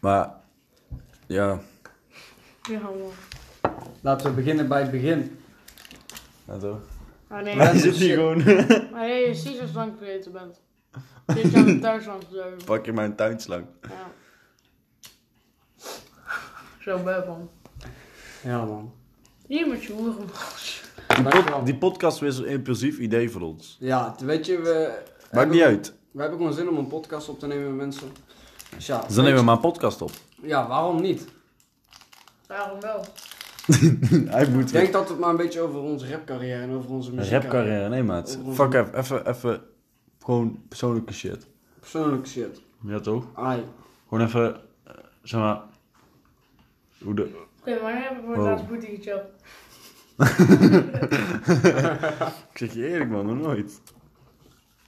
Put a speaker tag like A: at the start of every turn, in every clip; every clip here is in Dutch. A: Maar ja,
B: Weer allemaal.
C: Laten we beginnen bij het begin.
A: en zo.
B: Ah nee,
C: Wij
B: maar
C: is zitten het hier
A: gewoon.
B: jij je Caesars lang vergeten bent. Dit jaar met Duitsland gedaan.
A: Pak je mijn tuinslang.
B: Ja. Zo beu man.
C: Ja, man.
B: Hier met je hoeren.
A: Die,
C: Dank je
A: pod-
C: wel.
A: die podcast was een impulsief idee voor ons.
C: Ja, t- weet je, we...
A: Maakt niet uit.
C: We hebben gewoon zin om een podcast op te nemen met mensen. Dus ja,
A: Dus dan
C: weet
A: nemen we
C: je-
A: maar een podcast op.
C: Ja, waarom niet?
B: Daarom wel.
A: Hij moet
C: Ik denk dat we het maar een beetje over onze rapcarrière en over
A: Dus
C: onze muziek
A: Rapcarrière, nee maat. Fuck even, even, even. Gewoon persoonlijke shit.
C: Persoonlijk shit.
A: Ja toch?
C: Ai.
A: Gewoon even, eh, zeg maar. Hoe de.
B: Oké, maar wanneer heb ik voor het
A: Wow.
B: laatst boete gechillt?
A: Ik zeg je eerlijk man, nog nooit.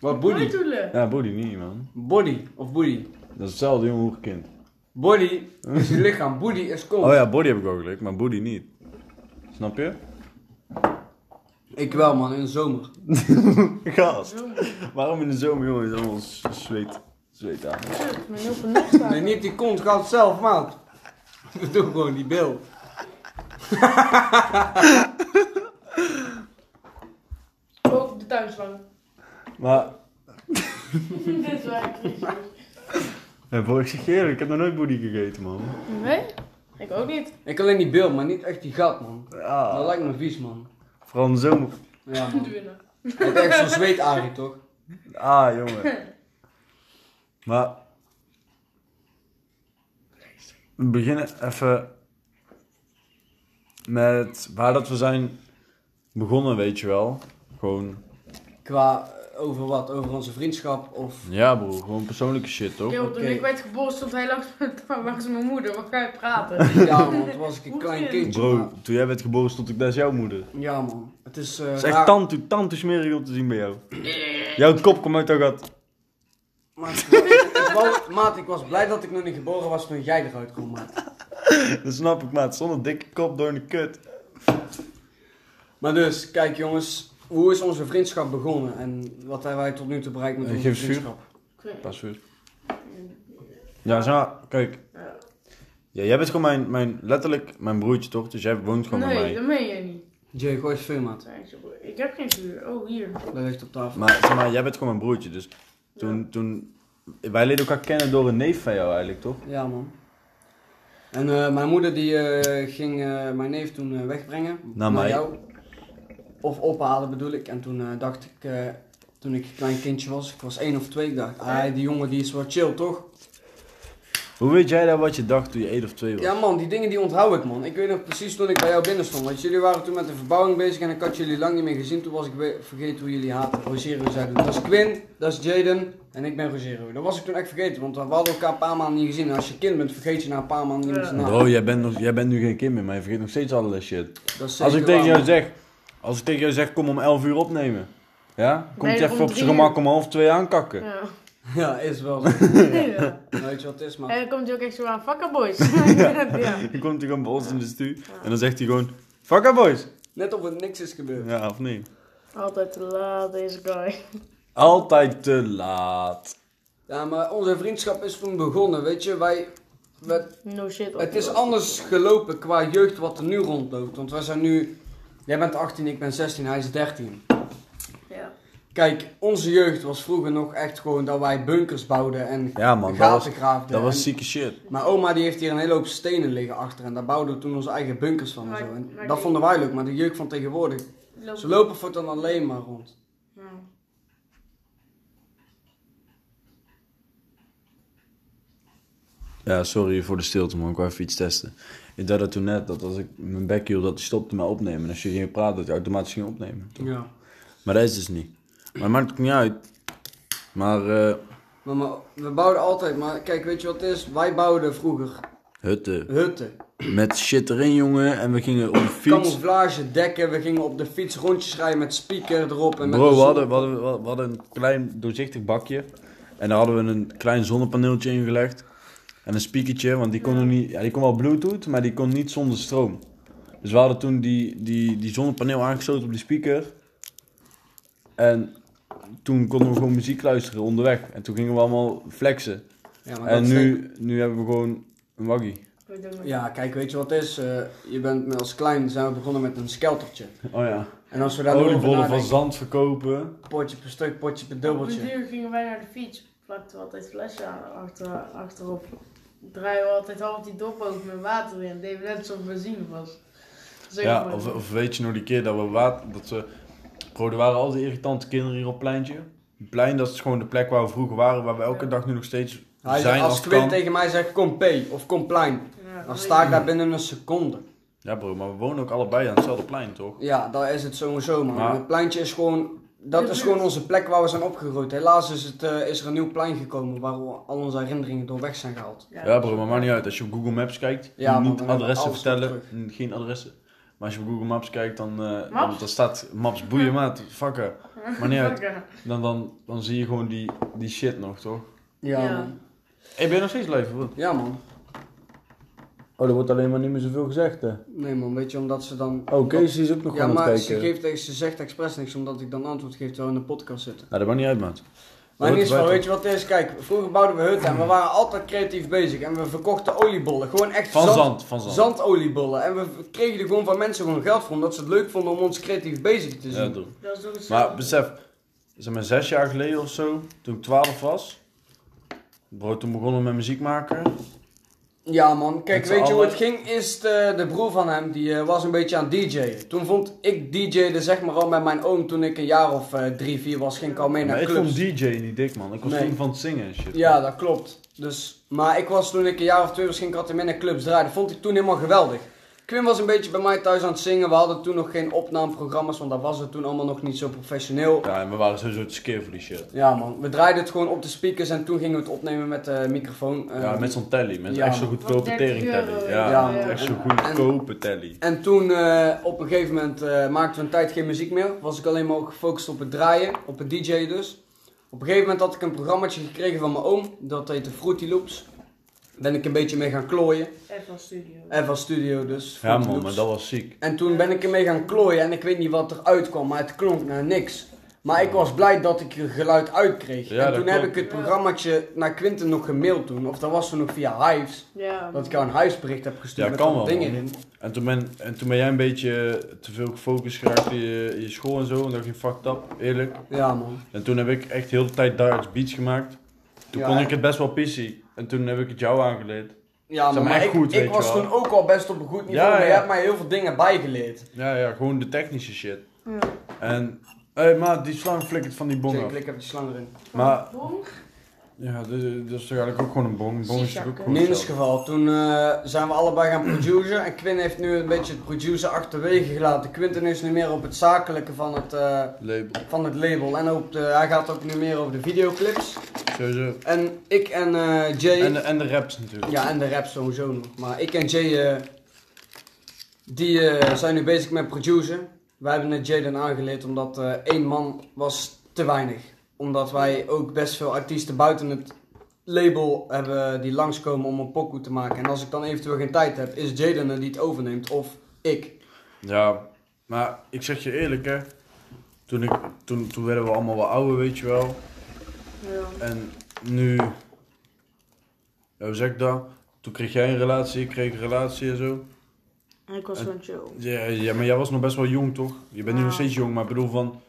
C: Wat
B: Mooi
C: booty?
B: doelen.
A: Ja, body niet man.
C: Body of booty?
A: Dat is hetzelfde jongen hoe kind.
C: Body is je lichaam, booty is kont.
A: Oh ja, body heb ik ook gelijk, maar body niet. Snap je?
C: Ik wel man, in de zomer.
A: Gast.
B: Zo,
A: Waarom in de zomer jongen is allemaal z- zweet, zweet aan?
B: shit, mijn heel veel niks aan.
C: Nee, niet die kont, gaat zelf maat. We doen gewoon die bil.
B: Ook de tuinslang.
A: Maar,
B: Dit is waar ik niet zo-
A: ja, bro, ik zeg je eerlijk, ik heb nog nooit body gegeten man.
B: Nee? Ik ook niet.
C: Ik alleen die bil, maar niet echt die gat man. Dat
A: Ja,
C: lijkt me vies man.
A: vooral in de zomer.
C: Ja
B: Moet
C: man.
B: winnen.
C: Het is echt zo'n zweetarie toch?
A: Ah, jongen. Maar. We beginnen even. Met waar dat we zijn begonnen, weet je wel. Gewoon.
C: Qua eh, over wat? Over onze vriendschap of...
A: Ja, bro, gewoon persoonlijke shit toch?
B: Yo, toen
C: Oké.
B: ik werd geboren stond hij langs mijn waar is mijn moeder? Wat ga je praten?
C: Ja man, toen was ik een klein kindje.
A: Bro,
C: maar-
A: toen jij werd geboren stond ik naast jouw moeder.
C: Ja man, het is... eh,
A: Het is
C: raar,
A: echt tante, tante smerig om te zien bij jou. Jouw kop komt uit jouw gat.
C: maar het was- het was- Maat, ik was blij dat ik nog niet geboren was toen jij eruit kwam maat.
A: Dat snap ik, maat. Zonder dikke kop door de kut.
C: Maar dus, kijk jongens. Hoe is onze vriendschap begonnen? En wat hebben wij tot nu toe bereikt met
A: Eh,
C: onze
A: geef eens vuur.
C: vriendschap?
B: Ik weet niet.
A: Pas weer. Ja, zeg maar, kijk. Ja, jij bent gewoon mijn, mijn, letterlijk mijn broertje, toch? Dus jij woont gewoon bij
B: Nee,
A: mij.
B: dat meen je niet.
C: Jay, gooi eens vuur maat.
B: Ik heb geen vuur. Oh, hier.
C: Dat ligt op tafel.
A: Maar zeg maar, jij bent gewoon mijn broertje. Dus toen, toen... Wij leren elkaar kennen door een neef van jou eigenlijk, toch?
C: Ja man. En eh, mijn moeder die eh, ging eh, mijn neef toen eh, wegbrengen.
A: Naar mij.
C: jou. Of ophalen bedoel ik. En toen eh, dacht ik, eh, toen ik een klein kindje was, ik was één of twee, ik dacht, ah, die jongen die is wel chill toch?
A: Hoe weet jij nou wat je dacht toen je 1 of 2 was?
C: Ja man, die dingen die onthoud ik man. Ik weet nog precies toen ik bij jou binnen stond. Want jullie waren toen met de verbouwing bezig en ik had jullie lang niet meer gezien. Toen was ik we- vergeten hoe jullie haten. Rogero zei toen, dat is Quinn, dat is Jaden en ik ben Rogero. Dat was ik toen echt vergeten, want we hadden elkaar een paar maanden niet gezien. En als je kind bent, vergeet je na een paar maanden niet meer zijn naam.
A: Bro, oh, jij bent, nog, jij bent nu geen kind meer, maar je vergeet nog steeds allerlei shit.
C: Dat
A: Als
C: is
A: ik
C: zeker
A: tegen
C: waar,
A: jou zeg... Als ik tegen jou zeg, kom om 11 uur opnemen. Ja? Komt
B: Nee,
A: je even
B: om
A: op zijn
B: drie
A: gemak om half 2 aankakken.
B: Ja.
C: Ja, is wel zo.
B: Ja.
C: Nou, Weet je wat het is, man?
B: En dan komt hij ook echt zo aan. Fucker boys. ja.
A: Dan komt hij gewoon bij ons in de stuur en dan zegt hij gewoon... Fuck up, boys!
C: Net of er niks is gebeurd.
A: Ja, of niet?
B: Altijd te laat, deze guy.
A: Altijd te laat.
C: Ja, maar onze vriendschap is toen begonnen, weet je. Wij, we-
B: No shit.
C: het is anders gelopen qua jeugd wat er nu rondloopt. Want wij zijn nu... Jij bent 18, ik ben 16, hij is 13.
B: Ja.
C: Kijk, onze jeugd was vroeger nog echt gewoon dat wij bunkers bouwden en
A: Ja, man, dat
C: gaten
A: was-
C: graafden.
A: Dat was
C: En
A: zieke shit.
C: Mijn oma die heeft hier een hele hoop stenen liggen achter en daar bouwden we toen onze eigen bunkers van en
B: Maar-
C: zo. En
B: maar
C: dat
B: die-
C: vonden wij leuk, maar de jeugd van tegenwoordig...
B: Loop.
C: Ze lopen voortaan alleen maar rond.
B: Ja.
A: Ja, sorry voor de stilte, man. Ik wou even iets testen. Ik dacht dat toen net, dat als ik mijn bek hield, dat hij stopte met opnemen. En als je ging praten, dat hij automatisch ging opnemen.
C: Ja.
A: Maar dat is dus niet. Maar maakt ook niet uit. Maar eh
C: Maar, maar we bouwden altijd, maar kijk, weet je wat het is? Wij bouwden vroeger
A: hutten.
C: hutten.
A: Met shit erin, jongen. En we gingen op de fiets.
C: Camouflage, dekken, we gingen op de fiets rondjes rijden met speaker erop. En met
A: Bro,
C: een
A: we
C: zon-
A: hadden, we, hadden, we hadden een klein doorzichtig bakje. En daar hadden we een klein zonnepaneeltje in gelegd. En een speakertje, want die kon, nog niet, ja, die kon wel bluetooth, maar die kon niet zonder stroom. Dus we hadden toen die, die, die zonnepaneel aangesloten op die speaker. En toen konden we gewoon muziek luisteren onderweg. En toen gingen we allemaal flexen.
C: Ja, maar dat
A: En
C: is denk-
A: nu, nu hebben we gewoon een waggie.
B: Ik denk dat-
C: Ja, kijk, weet je wat het is? Eh, je bent met- als klein zijn we begonnen met een skeltertje.
A: Oh ja.
C: En als we daar nu over
A: Oliebollen van
C: nadenken,
A: zand verkopen.
C: potje per stuk, potje per
B: Op
C: dubbeltje.
B: een duur gingen wij naar de fiets. Plakten we altijd flesje aan achter, achterop. Draaien we altijd half die dop open met water in. Deden we net alsof het benzine was. Zeg
A: Ja,
B: maar.
A: of, of weet je nog die keer dat we water... Dat ze, bro, er waren al die irritante kinderen hier op het pleintje. Het plein, dat is gewoon de plek waar we vroeger waren. Waar we elke
B: Ja.
A: dag nu nog steeds
C: Hij
A: zijn
C: zegt,
A: als,
C: als
A: het
C: Quint
A: kan.
C: tegen mij zegt, kom P of kom Plein,
B: Ja,
C: dan
B: weet
C: sta ik
B: je.
C: daar binnen een seconde.
A: Ja bro, maar we wonen ook allebei aan hetzelfde plein, toch?
C: Ja, daar is het sowieso, man.
A: Maar-
C: Het pleintje is gewoon... Dat
B: De
C: is
B: buurt.
C: gewoon onze plek waar we zijn opgegroeid. Helaas is, het, eh, is er een nieuw plein gekomen waar we al onze herinneringen door weg zijn gehaald.
A: Ja bro, maar maakt niet uit. Als je op Google Maps kijkt,
C: Ja, man,
A: niet
C: dan hebben we
A: adressen
C: alles nog
A: vertellen. Mm, Geen adressen. Maar als je op Google Maps kijkt, dan, eh,
B: Maps?
A: dan, dan staat maps boeien maat, fucker. Maar niet uit.
B: Fucker.
A: Dan, dan, dan zie je gewoon die, die shit nog, toch?
C: Ja,
B: Ja.
C: man.
A: Ik ben nog steeds live, broer.
C: Ja, man.
A: Oh, er wordt alleen maar niet meer zoveel gezegd, hè?
C: Nee, man. Weet je, omdat ze dan...
A: Oh, Kees is ook nog
C: Ja,
A: aan het
C: maar
A: kijken.
C: ze, geeft, ze zegt expres niks omdat ik dan antwoord geef terwijl we in de podcast zitten.
A: Nou, dat maakt niet uit, maat.
C: Maar in
A: Hoort
C: ieder geval,
A: erbij,
C: weet je wat het is? Kijk, vroeger bouwden we hutten en we waren altijd creatief bezig. En we verkochten oliebollen. Gewoon echt
A: Van
C: zand-
A: zand, van zand.
C: zandoliebollen. En we kregen er gewoon van mensen gewoon geld voor. Omdat ze het leuk vonden om ons creatief bezig te
A: Ja,
C: zien.
A: toch.
B: Dat is toch hetzelfde?
A: Maar besef, zeg maar zes jaar geleden of zo, toen ik twaalf was... Bro, toen begonnen we met muziek maken.
C: Ja man, kijk,
A: Met z'n
C: weet je hoe het
A: allen.
C: ging? Is de, de broer van hem, die eh, was een beetje aan DJ'en. Toen vond ik DJ'en zeg maar al met mijn oom toen ik een jaar of eh, drie, vier was, ging ik al mee naar
A: maar ik
C: clubs.
A: vond DJ niet dik, man. Ik was
C: Nee.
A: toen van het zingen en shit.
C: Ja, dat klopt. Dus, maar ik was toen ik een jaar of twee was, ging ik altijd mee naar clubs draaien. Dat vond ik toen helemaal geweldig. Quinn was een beetje bij mij thuis aan het zingen. We hadden toen nog geen opnameprogramma's, want dat was het toen allemaal nog niet zo professioneel.
A: Ja, en we waren sowieso te skeer voor die shit.
C: Ja man, we draaiden het gewoon op de speakers en toen gingen we het opnemen met de microfoon. eh,
A: Ja, met zo'n telly. Met
C: ja,
A: echt zo'n
B: man.
A: goedkope
B: Voor 30
A: tering telly.
B: euro,
A: Ja,
C: ja,
A: met
C: man.
A: echt zo'n
C: En-
A: goedkope telly.
C: En toen eh, op een gegeven moment eh, maakten we een tijd geen muziek meer. Was ik alleen maar ook gefocust op het draaien, op het DJ dus. Op een gegeven moment had ik een programmaatje gekregen van mijn oom. Dat heette Fruity Loops. Ben ik een beetje mee gaan klooien.
B: Echt van studio.
C: Eva Studio dus. Fruity
A: Ja man,
C: Loops.
A: maar dat was ziek.
C: En toen ben ik ermee gaan klooien en ik weet niet wat eruit kwam, maar het klonk naar niks. Maar ik was blij dat ik er geluid uit kreeg.
A: Ja,
C: en
A: dat
C: toen heb
A: klopt.
C: ik het programmaatje naar Quinten nog gemaild toen. Of dat was toen nog via Hives.
B: Ja.
C: Dat ik jou een Hives-bericht heb gestuurd
A: Ja,
C: met
A: kan
C: allemaal
A: wel,
C: dingen
A: man.
C: in.
A: En toen, ben, en toen ben jij een beetje te veel gefocust geraakt in je, in je school en zo. En dat ging fucked up, eerlijk.
C: Ja man.
A: En toen heb ik echt heel de tijd Darts Beats gemaakt. Toen
C: Ja,
A: kon
C: hè?
A: ik het best wel pissy. En toen heb ik het jou aangeleerd.
C: Ja,
A: Zeg
C: maar,
A: maar echt
C: ik,
A: goed,
C: ik
A: weet je
C: was
A: wel.
C: toen ook al best op een goed niveau,
A: Ja,
C: maar je
A: ja.
C: hebt mij heel veel dingen bijgeleerd.
A: Ja, ja, gewoon de technische shit.
B: Ja.
A: En, hé hey, maat, die slang flikkert van die bong
C: Zeker,
A: af.
C: ik heb die slang erin.
A: Maar,
B: Bong?
A: ja, dus, dus is toch eigenlijk ook gewoon een bong. Een bong is toch ook
C: In
A: gewoon
C: ieder
A: hetzelfde.
C: geval, toen eh, zijn we allebei gaan produceren en Quinn heeft nu een beetje het produceren achterwege gelaten. Quinten is nu meer op het zakelijke van het, eh,
A: Label,
C: van het label en op de, hij gaat ook nu meer over de videoclips.
A: sowieso.
C: En ik en eh, Jay,
A: En de, en de raps natuurlijk.
C: ja en de rap sowieso nog, maar ik en Jay eh, die eh, zijn nu bezig met produceren. Wij hebben het Jay dan aangeleerd omdat eh, één man was te weinig. Omdat wij ook best veel artiesten buiten het label hebben die langskomen om een pokoe te maken. En als ik dan eventueel geen tijd heb, is Jaden er die het overneemt of ik.
A: Ja, maar ik zeg je eerlijk, hè. Toen, ik, toen, toen werden we allemaal wel ouder, weet je wel.
B: Ja.
A: En nu... Ja, hoe zeg ik dat? Toen kreeg jij een relatie, ik kreeg een relatie en zo.
B: Ik was gewoon chill.
A: Ja, ja, maar jij was nog best wel jong, toch? Je bent nu nog
B: Ja.
A: steeds jong, maar ik bedoel van...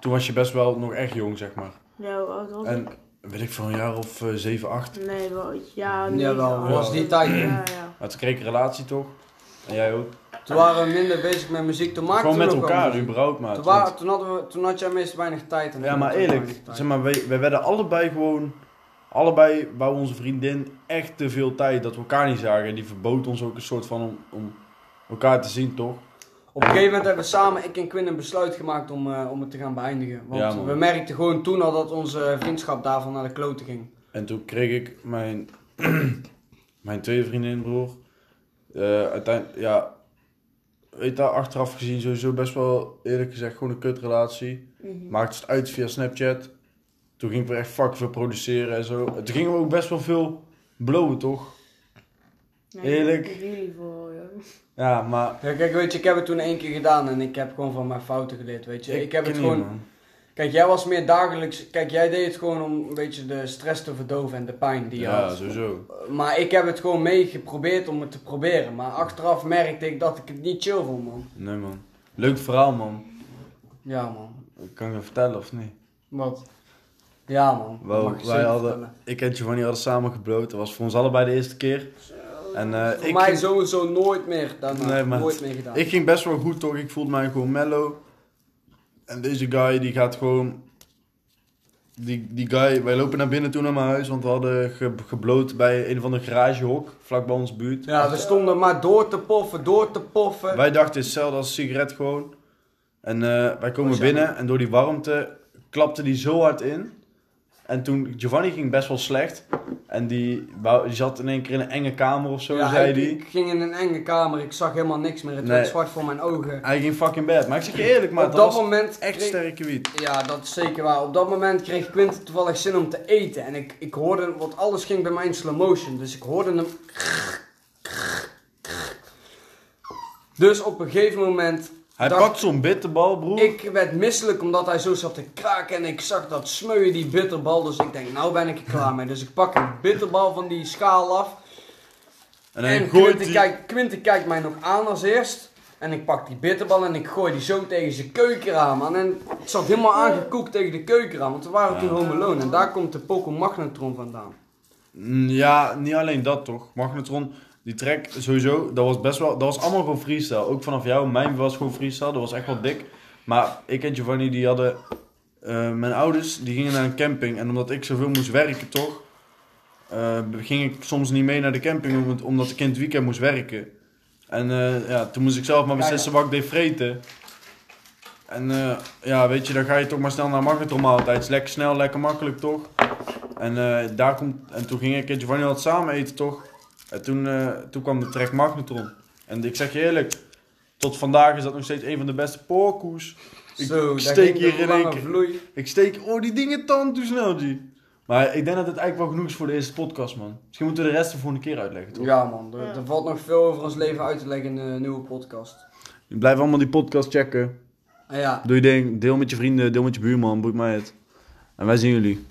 A: Toen was je best wel nog echt jong, zeg maar.
B: Ja, hoe oud was
A: En
B: ik?
A: weet ik van een jaar of eh, 7, 8.
B: Nee, wel. Ja, nee.
C: Jawel,
B: wel.
C: was die tijd.
B: Ja, ja.
A: Maar toen kreeg ik een relatie, toch? En jij ook.
C: Toen waren we minder bezig met muziek, toen maakten
A: Gewoon
C: we
A: met
C: nog wel
A: elkaar,
C: muziek.
A: überhaupt, maar.
C: Toen, waren, toen, hadden we, toen had jij meest weinig tijd. En ik
A: Ja,
C: had
A: maar
C: ook
A: eerlijk,
C: weinig tijd.
A: zeg maar, wij, wij werden allebei gewoon. Allebei wou onze vriendin echt te veel tijd dat we elkaar niet zagen. En die verbood ons ook een soort van om, om elkaar te zien, toch?
C: Op een gegeven moment hebben we samen, ik en Quinn, een besluit gemaakt om, eh, om het te gaan beëindigen. Want
A: Ja, man.
C: we merkten gewoon toen al dat onze vriendschap daarvan naar de kloten ging.
A: En toen kreeg ik mijn, mijn tweede vriendin, broer. eh uiteindelijk, ja. Weet dat, achteraf gezien sowieso best wel, eerlijk gezegd, gewoon een kutrelatie.
B: Mhm.
A: Maakte het uit via Snapchat. Toen gingen we echt fucking veel produceren en zo. En toen gingen we ook best wel veel blowen, toch?
B: Nee,
A: Eerlijk.
B: ik heb jullie voor, joh.
A: Ja, maar
C: Ja, kijk, weet je, Dus ik heb het toen één keer gedaan en ik heb gewoon van mijn fouten geleerd, weet je. Ik, heb het
A: ken
C: gewoon,
A: niet, man.
C: Kijk, jij was meer dagelijks. Kijk, jij deed het gewoon om een beetje de stress te verdoven en de pijn die je
A: Ja,
C: had.
A: sowieso.
C: Maar ik heb het gewoon mee geprobeerd om het te proberen. Maar achteraf merkte ik dat ik het niet chill vond, man.
A: Nee, man. Leuk verhaal, man.
C: Ja, man.
A: Kan ik dat vertellen of niet?
C: Wat? Ja, man. Dat
A: Wel,
C: mag je
A: wij
C: zeker
A: hadden,
C: vertellen.
A: ik en Giovanni hadden samen gebloot. Dat was voor ons allebei de eerste keer. En eh,
C: Voor
A: ik,
C: mij
A: ging,
C: sowieso nooit meer daarna.
A: Nee, maar-
C: nooit meer gedaan.
A: ik ging best wel goed toch. Ik voelde mij gewoon mellow. En deze guy die gaat gewoon. Die, die guy, wij lopen naar binnen toe naar mijn huis, want we hadden ge, gebloot bij een van de garagehok vlak bij ons buurt.
C: Ja, we stonden maar door te poffen, door te poffen.
A: Wij dachten het is hetzelfde als een sigaret gewoon. En eh, wij komen
C: Oh, ja.
A: binnen en door die warmte klapte die zo hard in. En toen, Giovanni ging best wel slecht. En die, wou- die zat in één keer in een enge kamer of zo,
C: Ja,
A: zei
C: ik,
A: die.
C: ik ging in een enge kamer, ik zag helemaal niks meer. Het
A: Nee.
C: werd zwart voor mijn ogen.
A: Hij ging fucking bad. Maar ik zeg je eerlijk, maar
C: Op
A: dat,
C: dat
A: was
C: moment
A: echt
C: kreeg-
A: sterke wiet.
C: Ja, dat is zeker waar. Op dat moment kreeg Quint toevallig zin om te eten. En ik, ik hoorde, want alles ging bij mij in slow motion. Dus ik hoorde hem. Dus op een gegeven moment.
A: Hij
C: dacht
A: pakt zo'n bitterbal, broer.
C: ik werd misselijk omdat hij zo zat te kraken. En ik zag dat smeuien die bitterbal. Dus ik denk, nou ben ik er klaar mee. Dus ik pak een bitterbal van die schaal af.
A: en hij
C: En
A: gooit
C: Quinten
A: die...
C: kijkt, Quinten kijkt mij nog aan als eerst. En ik pak die bitterbal en ik gooi die zo tegen zijn keukenraam aan. En het zat helemaal aangekoekt tegen de keukenraam. Want we waren toen Home Alone. En daar komt de Poco Magnetron vandaan.
A: Mm, Ja, niet alleen dat toch. Magnetron, die track sowieso, dat was best wel... Dat was allemaal gewoon freestyle. Ook vanaf jou, mijn was gewoon freestyle. Dat was echt wel dik. Maar ik en Giovanni, die hadden... eh, mijn ouders, die gingen naar een camping. En omdat ik zoveel moest werken, toch... eh, ging ik soms niet mee naar de camping, omdat- omdat ik in het weekend moest werken. En eh, ja, toen moest ik zelf maar
C: Ja,
A: beslissen
C: ja.
A: wat ik deed vreten. En eh, ja, weet je, dan ga je toch maar snel naar Magnetron altijd. Is lekker snel, lekker makkelijk toch? En, eh, daar komt, en toen ging ik en Giovanni wat samen eten toch? En toen, eh, toen kwam de track Magnetron. En ik zeg je eerlijk, tot vandaag is dat nog steeds een van de beste porkoes. Ik
C: zo,
A: steek
C: ging de
A: hier in
C: lange
A: één keer.
C: vloei.
A: Ik steek, oh die dingen tand, hoe snel die. Maar ik denk dat het eigenlijk wel genoeg is voor de eerste podcast man. Misschien moeten we de rest de volgende keer uitleggen toch?
C: Ja man, er, er valt nog veel over ons leven uit te leggen in een nieuwe podcast.
A: Blijf allemaal die podcast checken.
C: En ja,
A: Doe je ding, deel met je vrienden, deel met je buurman, boeit mij het. En wij zien jullie.